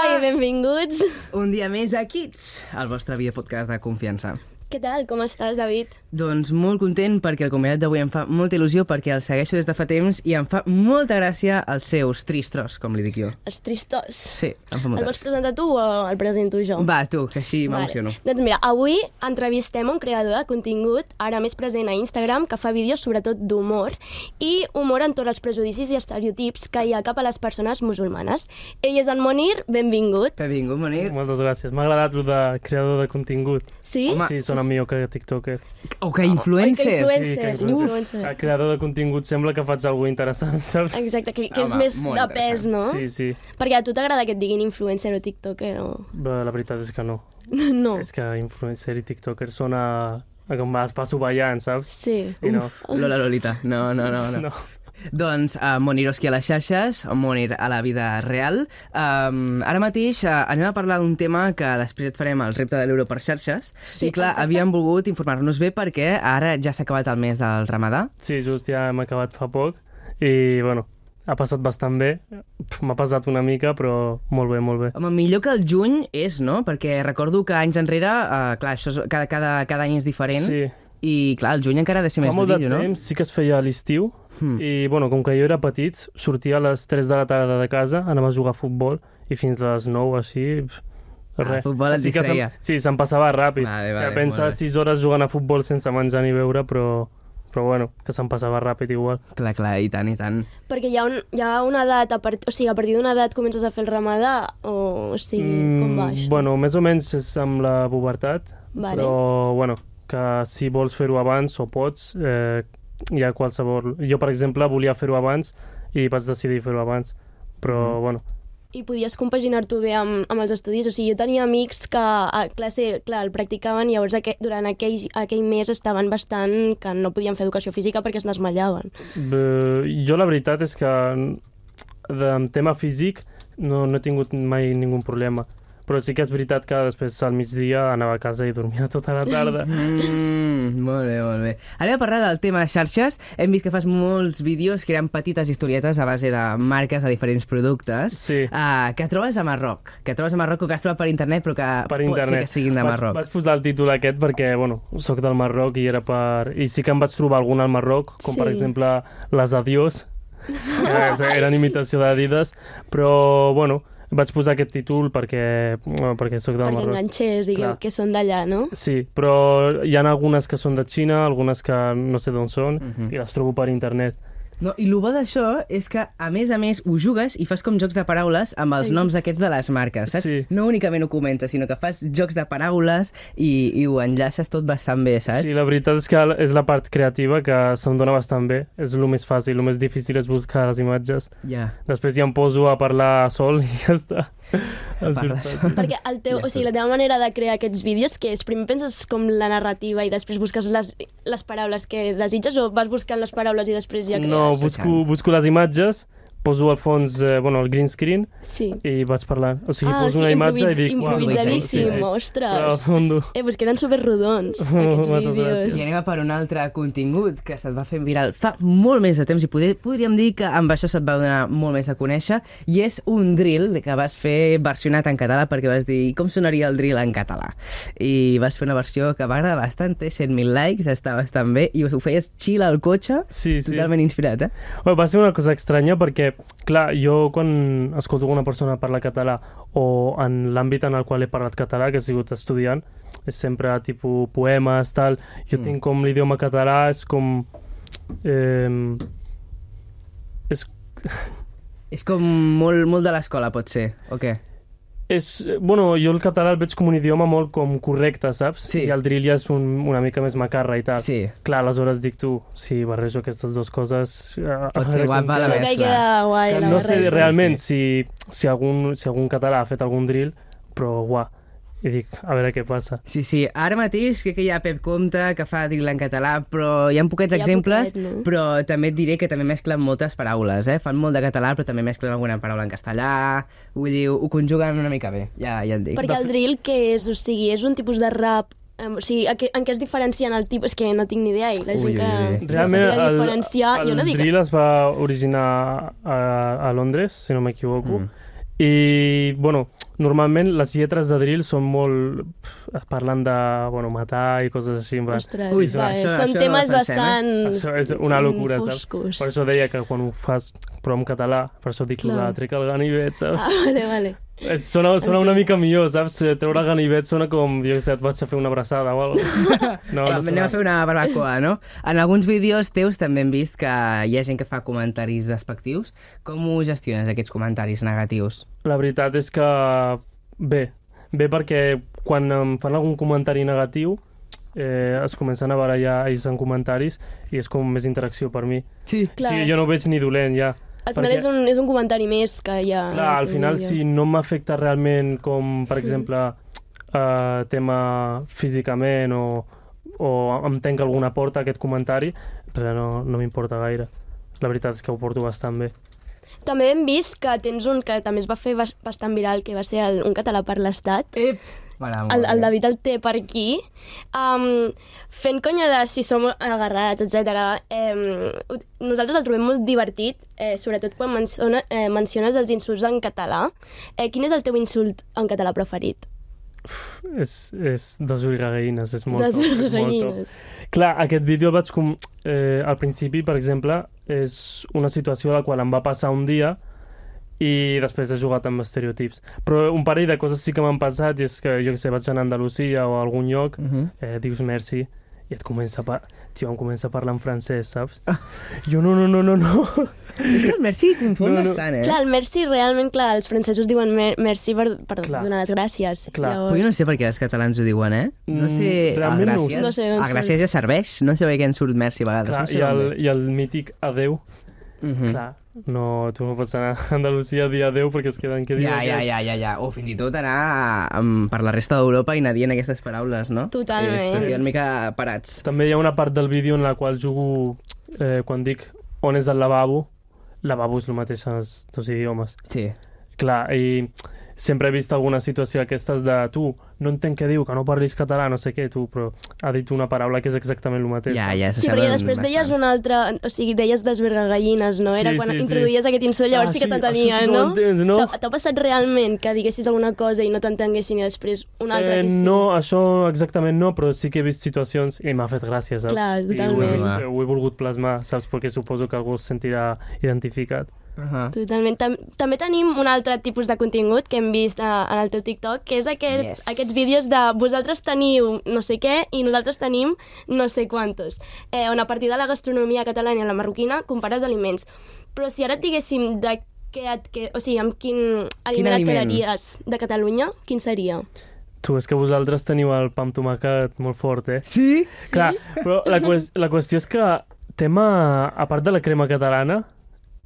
Benvinguts. Un dia més a Kids, el vostre via podcast de confiança. Què tal? Com estàs, David? Doncs molt content perquè el convidat d'avui em fa molta il·lusió perquè el segueixo des de fa temps i em fa molta gràcia els seus tristros, com li dic jo. Els tristos. Sí, em fa El molta vols gràcia. presentar tu o el presento jo? Va, tu, que així m'emociono. Vale. Doncs mira, avui entrevistem un creador de contingut, ara més present a Instagram, que fa vídeos sobretot d'humor i humor en tots els prejudicis i estereotips que hi ha cap a les persones musulmanes. Ell és en Monir, benvingut. T'ha vingut, Monir? Moltes gràcies. M'ha agradat el de creador de contingut. Sí? Home, Sí, sona millor que TikToker. O que Oi, que influencers! Sí, influencer, que influencer. El creador de contingut sembla que faig alguna cosa interessant, saps? Exacte, que, que és Home, més molt de pes, interessant. no? Sí, sí. Perquè a tu t'agrada que et diguin influencer o tiktoker o... Bé, la veritat és que no. No. És que influencer i TikToker sona a com vas passo ballant, saps? Sí. I no. Lola Lolita. No, no, no. no. No. Doncs uh, Moniroski a les xarxes, Monir a la vida real. Um, ara mateix uh, anem a parlar d'un tema que després et farem el repte de l'euro per xarxes. Sí, I clar, exacte. havíem volgut informar-nos bé perquè ara ja s'ha acabat el mes del ramadà. Sí, just ja hem acabat fa poc i, bueno, ha passat bastant bé. Pf, M'ha passat una mica, però molt bé, molt bé. Home, millor que el juny és, no? Perquè recordo que anys enrere, uh, clar, això és, cada, cada, cada any és diferent. Sí, I clar, el juny encara ha de ser fa més molt de durillo, no? temps sí que es feia a l'estiu Hmm. I, bueno, com que jo era petit, sortia a les 3 de la tarda de casa, anava a jugar a futbol, i fins a les 9, així... pf, Ah, el futbol et sí que se'm- distreia. Sí, se'm passava ràpid. Vale, vale, ja pensa molt bé. 6 hores jugant a futbol sense menjar ni beure, però, però bueno, que se'm passava ràpid igual. Clar, clar, i tant, i tant. Perquè hi ha, un, hi ha una edat, a part, o sigui, a partir d'una edat comences a fer el ramadà, o, o sigui, com va això? Mm, bueno, més o menys és amb la pubertat, Vale. però bueno, que si vols fer-ho abans o pots, eh, hi ha qualsevol... Jo, per exemple, volia fer-ho abans i vaig decidir fer-ho abans, però mm. bueno, I podies compaginar-t'ho bé amb, amb els estudis? O sigui, jo tenia amics que a classe, clar, el practicaven i llavors aqu durant aquell, aquell mes estaven bastant que no podien fer educació física perquè es desmallaven. Bé, jo la veritat és que mm, de, en tema físic no, no he tingut mai ningú problema. Però sí que és veritat que després al migdia anava a casa i dormia tota la tarda. Mm, molt bé, molt bé. Anem a parlar del tema de xarxes. Hem vist que fas molts vídeos creant petites historietes a base de marques de diferents productes Sí. uh, que trobes a Marroc, que trobes a Marroc o que has trobat per internet però que Per pot ser internet. que siguin de Marroc. Vaig, vaig posar el títol aquest perquè, bueno, sóc del Marroc i era per... I sí que em vaig trobar algun al Marroc, com Sí. per exemple les Adiós, que és- eren imitació d'Adidas, però, bueno, vaig posar aquest títol perquè, bueno, perquè sóc del perquè Marroc. enganxés, digueu, Clar. que són d'allà, no? Sí, però hi ha algunes que són de Xina, algunes que no sé d'on són, Mhm. i les trobo per internet. No, I el bo d'això és que, a més a més, ho jugues i fas com jocs de paraules amb els Ai. noms aquests de les marques, saps? Sí. No únicament ho comentes, sinó que fas jocs de paraules i, i ho enllaces tot bastant bé, saps? Sí, la veritat és que és la part creativa que se'm dona bastant bé. És el més fàcil, el més difícil és buscar les imatges. Ja. Després ja em poso a parlar sol i ja està. Em surt parlar fàcil. sol. Perquè el teu, Ja o sigui, la teva manera de crear aquests vídeos, que és primer penses com la narrativa i després busques les, les paraules que desitges o vas buscant les paraules i després ja crees? No, busco, busco les imatges, poso al fons eh, bueno, el green screen Sí. i vaig parlant. O sigui, Ah, poso sí, una imatge i dic... "Uau, improvisadíssim, sí, sí. ostres. Però, al fondo. Eh, pues queden superrodons, Moltes aquests vídeos. gràcies. I anem a per un altre contingut que se't va fent viral fa molt més de temps i poder, podríem dir que amb això se't va donar molt més a conèixer i és un drill que vas fer versionat en català perquè vas dir com sonaria el drill en català i vas fer una versió que va agradar bastant, té 100.000 likes, està bastant bé i ho feies xil al cotxe, Sí, sí. totalment inspirat, eh? Bueno, va ser una cosa estranya perquè, clar, jo quan escolto una persona parlar català o en l'àmbit en el qual he parlat català, que he sigut estudiant, és sempre tipus poemes, tal... Jo Mm. mm. tinc com l'idioma català, és com... Eh, és, És com molt, molt de l'escola, pot ser, o què? és, bueno, jo el català el veig com un idioma molt com correcte, saps? Sí. I el drill ja és un, una mica més macarra i tal. Sí. Clar, aleshores dic tu, si barrejo aquestes dues coses... eh, Pot ser guapa la Això que hi mescla. queda guai, la no sé barreja. realment si, si, algun, si algun català ha fet algun drill, però guà. I dic, a veure què passa. Sí, sí. Ara mateix crec que hi ha Pep Comte que fa drill en català, però hi ha poquets Hi ha exemples, poquet, no? però també et diré que també mesclen moltes paraules, eh? Fan molt de català, però també mesclen alguna paraula en castellà, vull dir, ho conjuguen una mica bé, ja, ja et dic. Perquè el drill, que és? O sigui, és un tipus de rap... em, O sigui, a què- en què es diferencien el tipus? És que no tinc ni idea, i la gent Ui, ui, que... ui. no Realment, sabia el, diferenciar, jo no el dic... drill es va originar a, a Londres, si no m'equivoco, Mm. mm. I, bueno, normalment les lletres de drill són molt... pf, parlant de, bueno, matar i coses així. en plan- Ostres, Ui, Ui, va, va, això- són això temes ho defensem, eh? bastant... Això és una locura, saps? foscos. Per això deia que quan ho fas, però en català, per això dic Clar. Clar. la trec el ganivet, saps? Ah, vale, vale. Ah. Sona, sona una mica millor, saps? Eh, Treure el ganivet sona com, jo què sé, et vaig a fer una abraçada o alguna cosa. Va, No, no Anem a fer una barbacoa, no? En alguns vídeos teus també hem vist que hi ha gent que fa comentaris despectius. Com ho gestiones, aquests comentaris negatius? La veritat és que bé, bé perquè quan em fan algun comentari negatiu eh, es comencen a barallar ells en comentaris i és com més interacció per mi. Sí. O Clar. sigui, jo no ho veig ni dolent ja. Al final és, un, és un comentari més que hi ha... Clar, al final hi ha. si no m'afecta realment com, per exemple, eh, tema físicament o, o em tenc alguna porta aquest comentari, però no, no m'importa gaire. La veritat és que ho porto bastant bé. També hem vist que tens un que també es va fer bas- bastant viral, que va ser el, un català per l'Estat. Ep! Voilà, Ah, El, el David el té per aquí. Um, fent conya de si som agarrats, etc. Eh, nosaltres el trobem molt divertit, eh, sobretot quan menciona, eh, menciones els insults en català. Eh, quin és el teu insult en català preferit? És, és desvirgagueïnes, és molt Des top, és molt top. Bergaguines. Clar, aquest vídeo el vaig com... Eh, al principi, per exemple, és una situació a la qual em va passar un dia i després he jugat amb estereotips. Però un parell de coses sí que m'han passat i és que, jo què sé, vaig anar a Andalusia o a algun lloc, Uh -huh. eh, dius merci i et comença a, par... Tio, em comença a parlar en francès, saps? Ah. Jo no, no, no, no, no. És que el Merci confon No, no, no. no. bastant, eh? Clar, el merci, realment, clar, els francesos diuen mer merci per, per Clar. donar les gràcies. Clar. Però jo no sé per què els catalans ho diuen, eh? No sé... Mm, a realment no ho gràcies, sé. No sé d'on a gràcies ja serveix. No sé per què en surt merci a vegades. Clar, no sé i, el, d'on ve. I el mític adeu, Mhm. mm. clar, no, tu no pots anar a Andalusia a dir adeu perquè es queden... Què diu Ja, ja, aquest? ja, ja, ja. O fins i tot anar um, per la resta d'Europa i anar dient aquestes paraules, no? Totalment. Eh, S'estan una mica parats. També hi ha una part del vídeo en la qual jugo, eh, quan dic on és el lavabo, lavabo és el mateix en els dos idiomes. Sí. Clar, i sempre he vist alguna situació aquestes de tu, no entenc què diu, que no parlis català, no sé què, tu, però ha dit una paraula que és exactament el mateix. Ja, ja, se Sí, però ja saben després deies bastant. un altre... O sigui, deies desvergagallines, no? Era Sí, quan sí, sí. introduïes aquest insult, llavors Ah, sí que sí, t'entenia, això sí que ho entens, no? T'ha- T'ha passat realment que diguessis alguna cosa i no t'entenguessin i després una altra Eh, que sí? no, això exactament no, però sí que he vist situacions i m'ha fet gràcia, saps? Clar, I ho he, totalment. vist, ho he volgut plasmar, saps? Perquè suposo que algú es sentirà identificat. Ahà. Totalment. Tam també tenim un altre tipus de contingut que hem vist eh, en el teu TikTok, que és aquests, Yes. yes. aquests vídeos de vosaltres teniu no sé què i nosaltres tenim no sé quantos, eh, on a partir de la gastronomia catalana i la marroquina compares aliments. Però si ara et diguéssim de què et, que, o sigui, amb quin aliment aliment? et quedaries de Catalunya, quin seria? Tu, és que vosaltres teniu el pa amb tomàquet molt fort, eh? Sí? Clar, però la, qües la qüestió és que tema, a part de la crema catalana,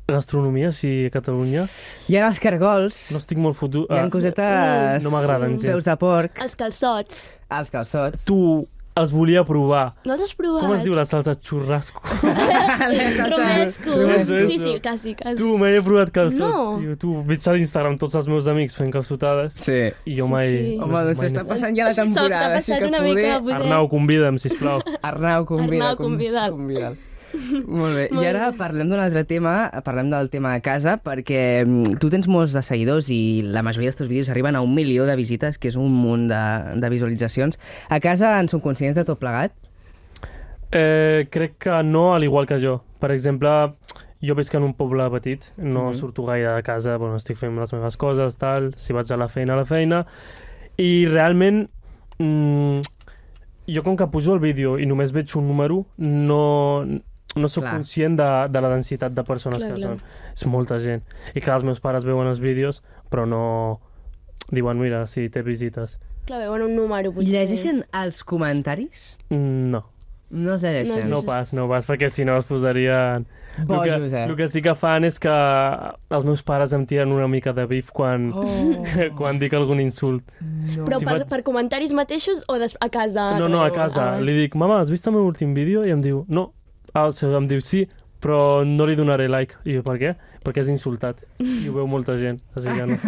gastronomia, si a Catalunya, Hi ha els cargols, no estic molt fotut. hi ha Ah, cosetes... No m'agraden gens. Peus de porc, Els calçots. els calçots... Tu, els volia provar. No els has provat? Com es diu la salsa xurrasco? Romesco. Romesco. Sí, sí, quasi, quasi. tu, mai he provat calçots, No. tio. Tu, veig a l'Instagram tots els meus amics fent calçotades Sí. i jo Sí, mai... sí. Home, doncs mai està no. passant ja la S'ha- s'ha temporada. passat una mica poder. Arnau, convida'm, sisplau. Arnau, convida. Arnau, con- convida'l. convida'l. Molt bé. I ara parlem d'un altre tema, parlem del tema de casa, perquè mm, tu tens molts de seguidors i la majoria dels teus vídeos arriben a un milió de visites, que és un munt de, de visualitzacions. A casa en són conscients de tot plegat? Eh, crec que no, al igual que jo. Per exemple, jo visc en un poble petit, no mm Mhm. -hmm. surto gaire de casa, bueno, estic fent les meves coses, tal, si vaig a la feina, a la feina, i realment mm, jo com que pujo el vídeo i només veig un número, no, no sóc Clar. conscient de, de la densitat de persones Clar, que clar. són. És molta gent. I clar, els meus pares veuen els vídeos, però no diuen, mira, si té visites. Clar, veuen un número, I potser. llegeixen els comentaris? Mm, No. No els No els llegeixen. No Sí, sí. pas, no pas, perquè si no es posarien... El que, Bojos, eh? el que sí que fan és que els meus pares em tiren una mica de bif quan, Oh. quan dic algun insult. Però Si per, vaig- per comentaris mateixos o des... a casa? no, no, a Reu? casa. Ah. Li dic, mama, has vist el meu últim vídeo? I em diu, no. Ah, o sigui, em diu, sí, però no li donaré like. I jo, per què? perquè és insultat i ho veu molta gent, així que no.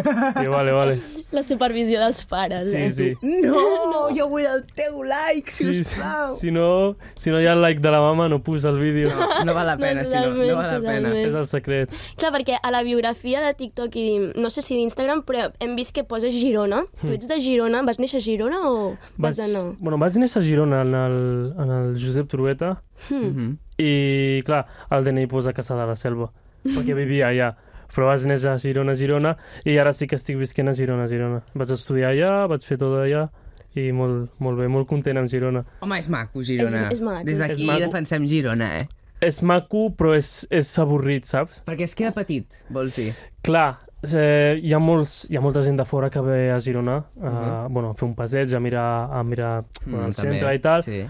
I vale, vale. La supervisió dels pares. Sí, eh? sí. No, no, jo vull el teu like, Sí, sí. sisplau. Si no, si no hi ha el like de la mama, no puja el vídeo. No val la No, pena, si no, no val la totalment, pena. totalment. És el secret. Clar, perquè a la biografia de TikTok i no sé si d'Instagram, però hem vist que poses Girona. Hmm. Tu ets de Girona, vas néixer a Girona o vas, vas de no? Bueno, vaig néixer a Girona, en el, en el Josep Trueta, Mhm. i, clar, el DNI posa Casa de la Selva, perquè vivia allà. Però vaig néixer a Girona, Girona, i ara sí que estic visquent a Girona, Girona. Vaig estudiar allà, vaig fer tot allà, i molt, molt bé, molt content amb Girona. Home, és maco, Girona. És- és maco. Des És d'aquí maco. defensem Girona, eh? És maco, però és, és avorrit, saps? Perquè es queda petit, vols dir? Clar, eh, hi, ha molts, hi ha molta gent de fora que ve a Girona uh, bueno, a fer un passeig, a mirar, a mirar mm, Mhm. el també, centre i tal. Sí.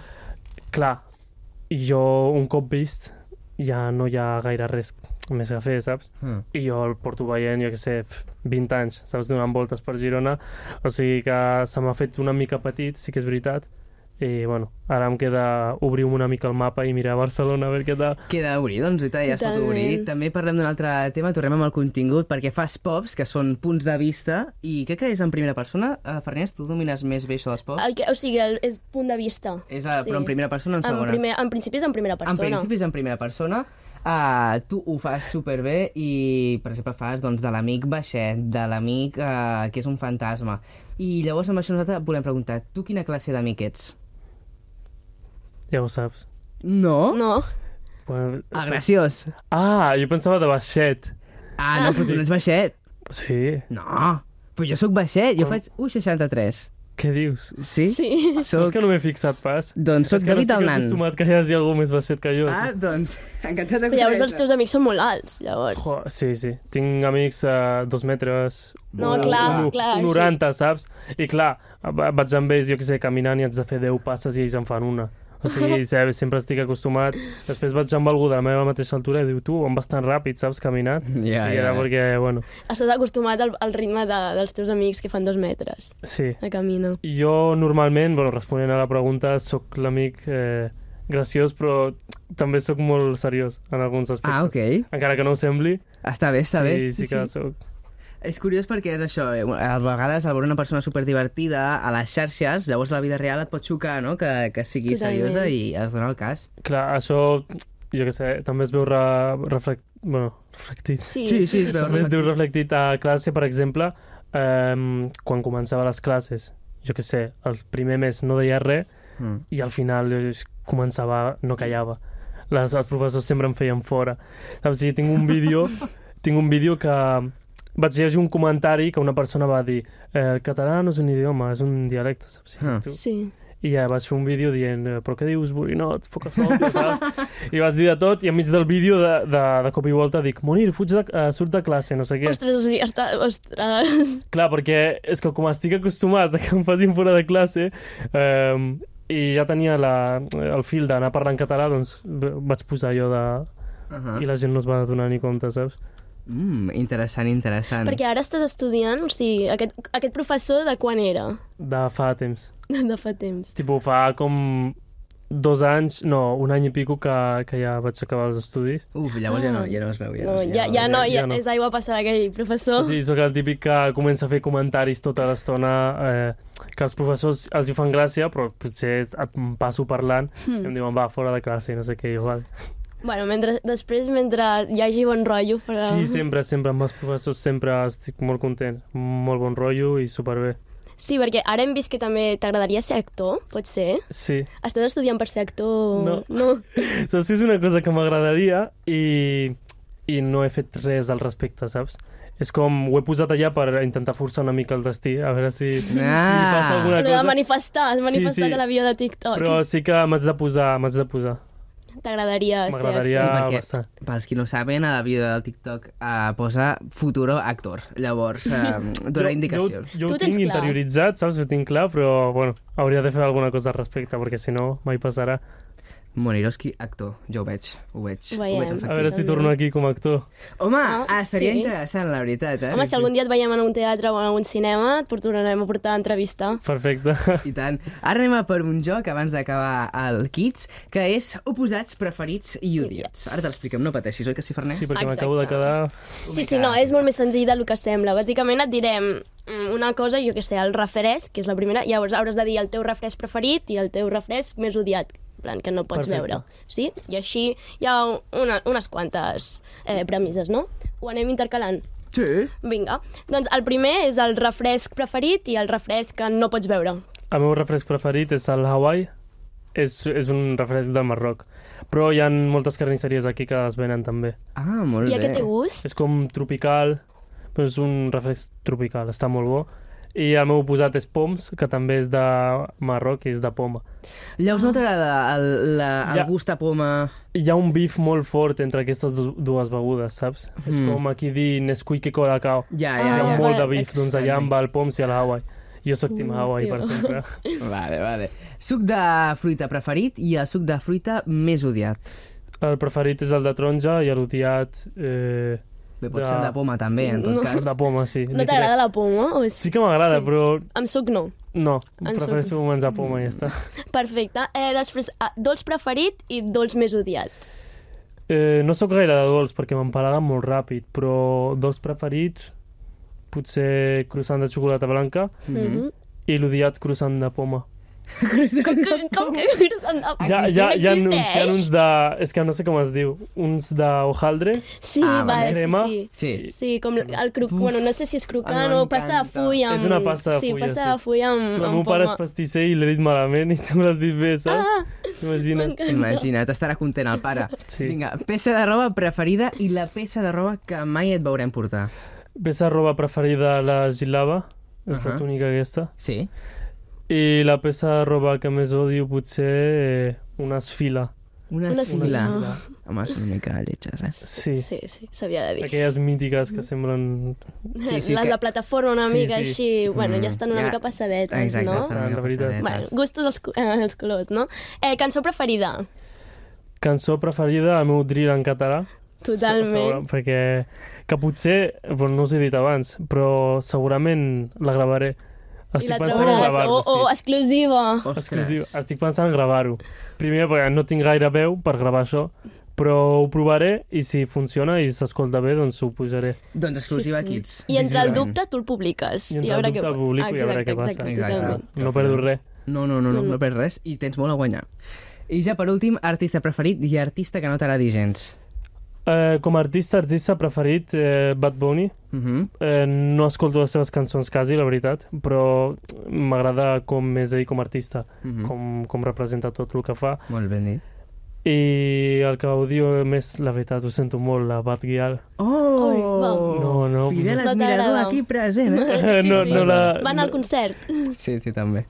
Clar, jo un cop vist ja no hi ha gaire res més a fer, saps? Mm. I jo el porto veient, jo què sé, pf, 20 anys, saps, donant voltes per Girona, o sigui que se m'ha fet una mica petit, sí que és veritat, i bueno, ara em queda obrir una mica el mapa i mirar Barcelona a veure què tal. Queda obrir, doncs, Rita, ja es pot Totalment. obrir. També parlem d'un altre tema, tornem amb el contingut, perquè fas pops, que són punts de vista, i crec que és en primera persona. Uh, Farners, tu domines més bé això dels pops? El que, o sigui, el, és punt de vista. És a, sí. Però en primera persona o en En, segona? primer, en principi és en primera persona. En principi és en primera persona. Uh, tu ho fas superbé i, per exemple, fas doncs, de l'amic baixet, de l'amic uh, que és un fantasma. I llavors amb això nosaltres volem preguntar, tu quina classe d'amic ets? Ja ho saps. No? No. Bueno, Ah, graciós. Ah, jo pensava de baixet. Ah, no, però tu no ets baixet. Sí, No, però jo sóc baixet, jo faig 1,63. què dius? Sí? Ah, Sí. Saps Sóc... que no m'he fixat pas? Doncs sóc És que David no el estic Nan. acostumat que hi hagi algú més baixet que jo. Ah, doncs, encantat de Però llavors els conèixer. teus amics són molt alts, llavors. Jo, sí, sí. Tinc amics a dos metres... No, Oh, un- clar, un, clar, Un sí. 90, saps? I clar, va- vaig amb ells, jo què sé, caminant i haig de fer 10 passes i ells en fan una. O sigui, saps, sempre estic acostumat. Després vaig amb algú de la meva mateixa altura i diu, tu, on vas tan ràpid, saps, caminant? Ja, ja, I ja. era perquè, bueno, Estàs acostumat al, al ritme de, dels teus amics que fan dos metres sí. de camina. Jo normalment, bueno, responent a la pregunta, sóc l'amic eh, graciós, però també sóc molt seriós en alguns aspectes. Ah, ok. Encara que no ho sembli, Està bé, està sí, bé. sí que sóc... És curiós perquè és això, eh? a vegades al veure una persona superdivertida a les xarxes, llavors a la vida real et pot xocar, no?, que, que sigui Totalment. seriosa i es dona el cas. Clar, això, jo què sé, també es veu re, reflect... bueno, reflectit. Sí, Sí, sí, és veritat. També es veu reflectit a classe, per exemple, eh, quan començava les classes. Jo què sé, el primer mes no deia res Mm. i al final jo començava, no callava. Les, els professors sempre em feien fora. Saps? O sigui, tinc un vídeo, tinc un vídeo que vaig llegir un comentari que una persona va dir eh, el català no és un idioma, és un dialecte, saps? Ah. Mm. Tu, Sí. i ja vaig fer un vídeo dient eh, però què dius, borinot, poca sol, saps? I vas dir de tot i enmig del vídeo de, de, de cop i volta dic Monir, fuig de, uh, surt de classe, no sé què. Ostres, o sigui, està... Ostres. Clar, perquè és que com estic acostumat a que em facin fora de classe eh, i ja tenia la, el fil d'anar parlant català, doncs v- vaig posar allò de... Uh I -huh. la gent no es va donar ni compte, saps? mm, interessant, interessant. Perquè ara estàs estudiant, o sigui, aquest, aquest professor de quan era? De fa temps. De fa temps. Tipo, fa com dos anys, no, un any i pico que, que ja vaig acabar els estudis. Uf, llavors ja no, Ah. ja no es veu. Ja, No, ja, ja, no, ja, ja no. és aigua passada aquell professor. Sí, sóc el típic que comença a fer comentaris tota l'estona eh, que els professors els hi fan gràcia, però potser et- em passo parlant mm. Hmm. i em diuen, va, fora de classe, i no sé què, igual. Bueno, mentre, després, mentre hi hagi bon rotllo, però... Sí, sempre, sempre, amb els professors sempre estic molt content, molt bon rotllo i superbé. sí, perquè ara hem vist que també t'agradaria ser actor, pot ser? Sí. Estàs estudiant per ser actor? No. no. Saps que és una cosa que m'agradaria i, i no he fet res al respecte, saps? És com, ho he posat allà per intentar forçar una mica el destí, a veure si, si passa Ah. alguna Però de cosa. manifestar, has Sí, manifestat sí. a la via de TikTok. Però sí que m'haig de posar, m'haig de posar. T'agradaria ser M'agradaria Sí, actor. perquè, bastant. pels qui no ho saben, a la vida del TikTok eh, posa futuro actor. Llavors, eh, dona indicacions. Tu Jo, jo, jo ho tens tinc clar. interioritzat, saps? Ho tinc clar, però, bueno, hauria de fer alguna cosa al respecte, perquè si no, mai passarà. Moniroski, actor. Jo ho veig, ho veig. Ho veiem. veig A veure si torno aquí com a actor. Home, Ah, ah, estaria sí. interessant, la veritat, eh? Home, si algun dia et veiem en un teatre o en algun cinema, et tornarem a portar a entrevista. Perfecte. I tant. Ara anem a per un joc abans d'acabar el Kids, que és oposats, preferits i odiats. Ara t'expliquem, no pateixis, oi que sí, Farners? Sí, perquè Exacte. m'acabo de quedar... Sí, sí, no, és molt més senzill del que sembla. Bàsicament et direm mm, una cosa, jo que sé, el refresc, que és la primera, llavors hauràs de dir el teu refresc preferit i el teu refresc més odiat, en plan, que no pots Perfecte. veure. Sí? I així hi ha una, unes quantes eh, premisses, no? Ho anem intercalant. Sí. Vinga, doncs el primer és el refresc preferit i el refresc que no pots veure. El meu refresc preferit és el Hawaii. És, és un refresc del Marroc. Però hi ha moltes carnisseries aquí que es venen també. Ah, molt I bé. a què té gust? És com tropical, però és un reflex tropical, està molt bo. I el meu oposat és Poms, que també és de Marroc i és de poma. Llavors no t'agrada el, la, el Ja. gust a poma... I Hi ha un bif molt fort entre aquestes du- dues begudes, saps? Mm. És Mm. com aquí dir Nesquik i Colacao. Ja, Ah, ja, Hi ha ja, ja. molt de vale. bif, doncs allà em va el Poms i el Hawaii. Jo sóc Team Hawaii per tio. sempre. Vale, vale. Suc de fruita preferit i el suc de fruita més odiat. El preferit és el de taronja i l'odiat... Eh, Bé, pot De- ser el de poma també, en tot No. cas. de poma, sí. No t'agrada la poma? O és... Sí que m'agrada, Sí. sí. però Amb suc no. no. En Prefereixo menjar poma i ja està. Perfecte. Eh, després, ah, dolç preferit i dolç més odiat. Eh, no sóc gaire de dolç perquè m'empalaga molt ràpid, però dolç preferit potser croissant de xocolata blanca Mm -hmm. i l'odiat croissant de poma. com, que- com que croissant de poma? hi ha, hi ha, uns, hi ha uns Existeix? de... És que no sé com es diu. Uns d'hojaldre. Sí, Ah, ah, vale. vale, Crema. sí, sí. Sí. Sí, com el cruc... Uf, bueno, no sé si és crocant a mi o pasta de m'encanta. fulla. Amb... És una pasta de sí, fulla, pasta mm, sí. de fulla amb, El amb meu pare és poma. pastisser i l'he dit malament i tu l'has dit bé, saps? Ah, Imagina't. m'encanta. Imagina't, estarà content el pare. Sí. Vinga, peça de roba preferida i la peça de roba que mai et veurem portar. Peça roba preferida la gilava, és Ahà. la túnica aquesta. Sí? I la peça de roba que més odio potser eh, una esfila. Una, Una esfila. esfila. Home, són una mica lletges, eh? Sí. sí. Sí, sí, s'havia de dir. Aquelles mítiques que semblen Sí, sí, Mm, les que- de plataforma una Sí, mica sí. així, bueno, ja estan una Ja. mica passadetes, Exacte, no? estan una Ah, La mica veritat. passadetes. Bueno, gustos els, co- eh, els colors, no? Eh, cançó preferida? Cançó preferida, el meu drill en català. Totalment. Segura- Perquè, que potser, però no us he dit abans, però segurament la gravaré. I la Estic pensant en trauràs, o, gravar-ho, o sí. exclusiva. Exclusiu. Ostres. Estic pensant en gravar-ho. Primer, perquè no tinc gaire veu per gravar això, però ho provaré i si funciona i s'escolta bé, doncs ho pujaré. Doncs exclusiva Sí, sí. Kids. I entre el Vigilament. dubte tu el publiques. I entre a veure el dubte què- el publico i a veure Exacte, què passa. Exacte, Exacte. totalment. No perdo res. No, no, no, Mm. no, no perds res i tens molt a guanyar. I ja per últim, artista preferit i artista que no t'agradi gens. Eh, com a artista, artista preferit, eh, Bad Bunny. Uh -huh. Eh, no escolto les seves cançons quasi, la veritat, però m'agrada com és ell com a artista, mm Mhm. -hmm. com, com representa tot el que fa. Molt ben dit. I el que odio més, la veritat, ho sento molt, la Bad Gyal. Oh! Ai, va. No, no. Fidel No admirador t'agrada. aquí present, eh? Sí, no, sí. no la... Va anar al no, concert. Sí, sí, també.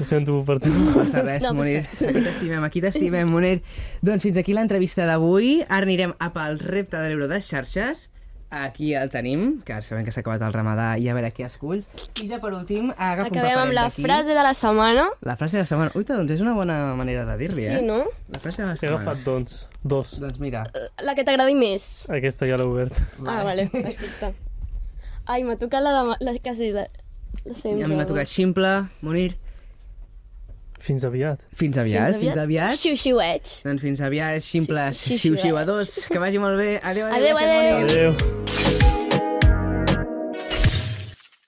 ho sento per tu. No passa res, No no, passa Munir. Aquí t'estimem, aquí t'estimem, Munir. Doncs fins aquí l'entrevista d'avui. Ara anirem a pel repte de l'euro de xarxes. Aquí el tenim, que ara sabem que s'ha acabat el ramadà i a veure qui esculls. I ja per últim, agafa un Acabem amb paperet la d'aquí. frase de la setmana. La frase de la setmana. Uita, doncs és una bona manera de dir-li, eh? Sí, no? Eh, La frase de la He setmana. agafat, doncs, dos. Doncs mira, La que t'agradi més. Aquesta ja l'he obert. Ah, vale, perfecte. Ai, m'ha tocat la de... La, quasi la, eh? la sempre. eh? a mi m'ha tocat ximple, Munir. Fins aviat. Fins aviat, fins aviat. Xiu-xiueig. Doncs fins aviat, ximple, Xi- xiu-xiuadors. Que vagi molt bé. Adéu, adéu, Adéu, gràcies, Munir. adéu. Adéu.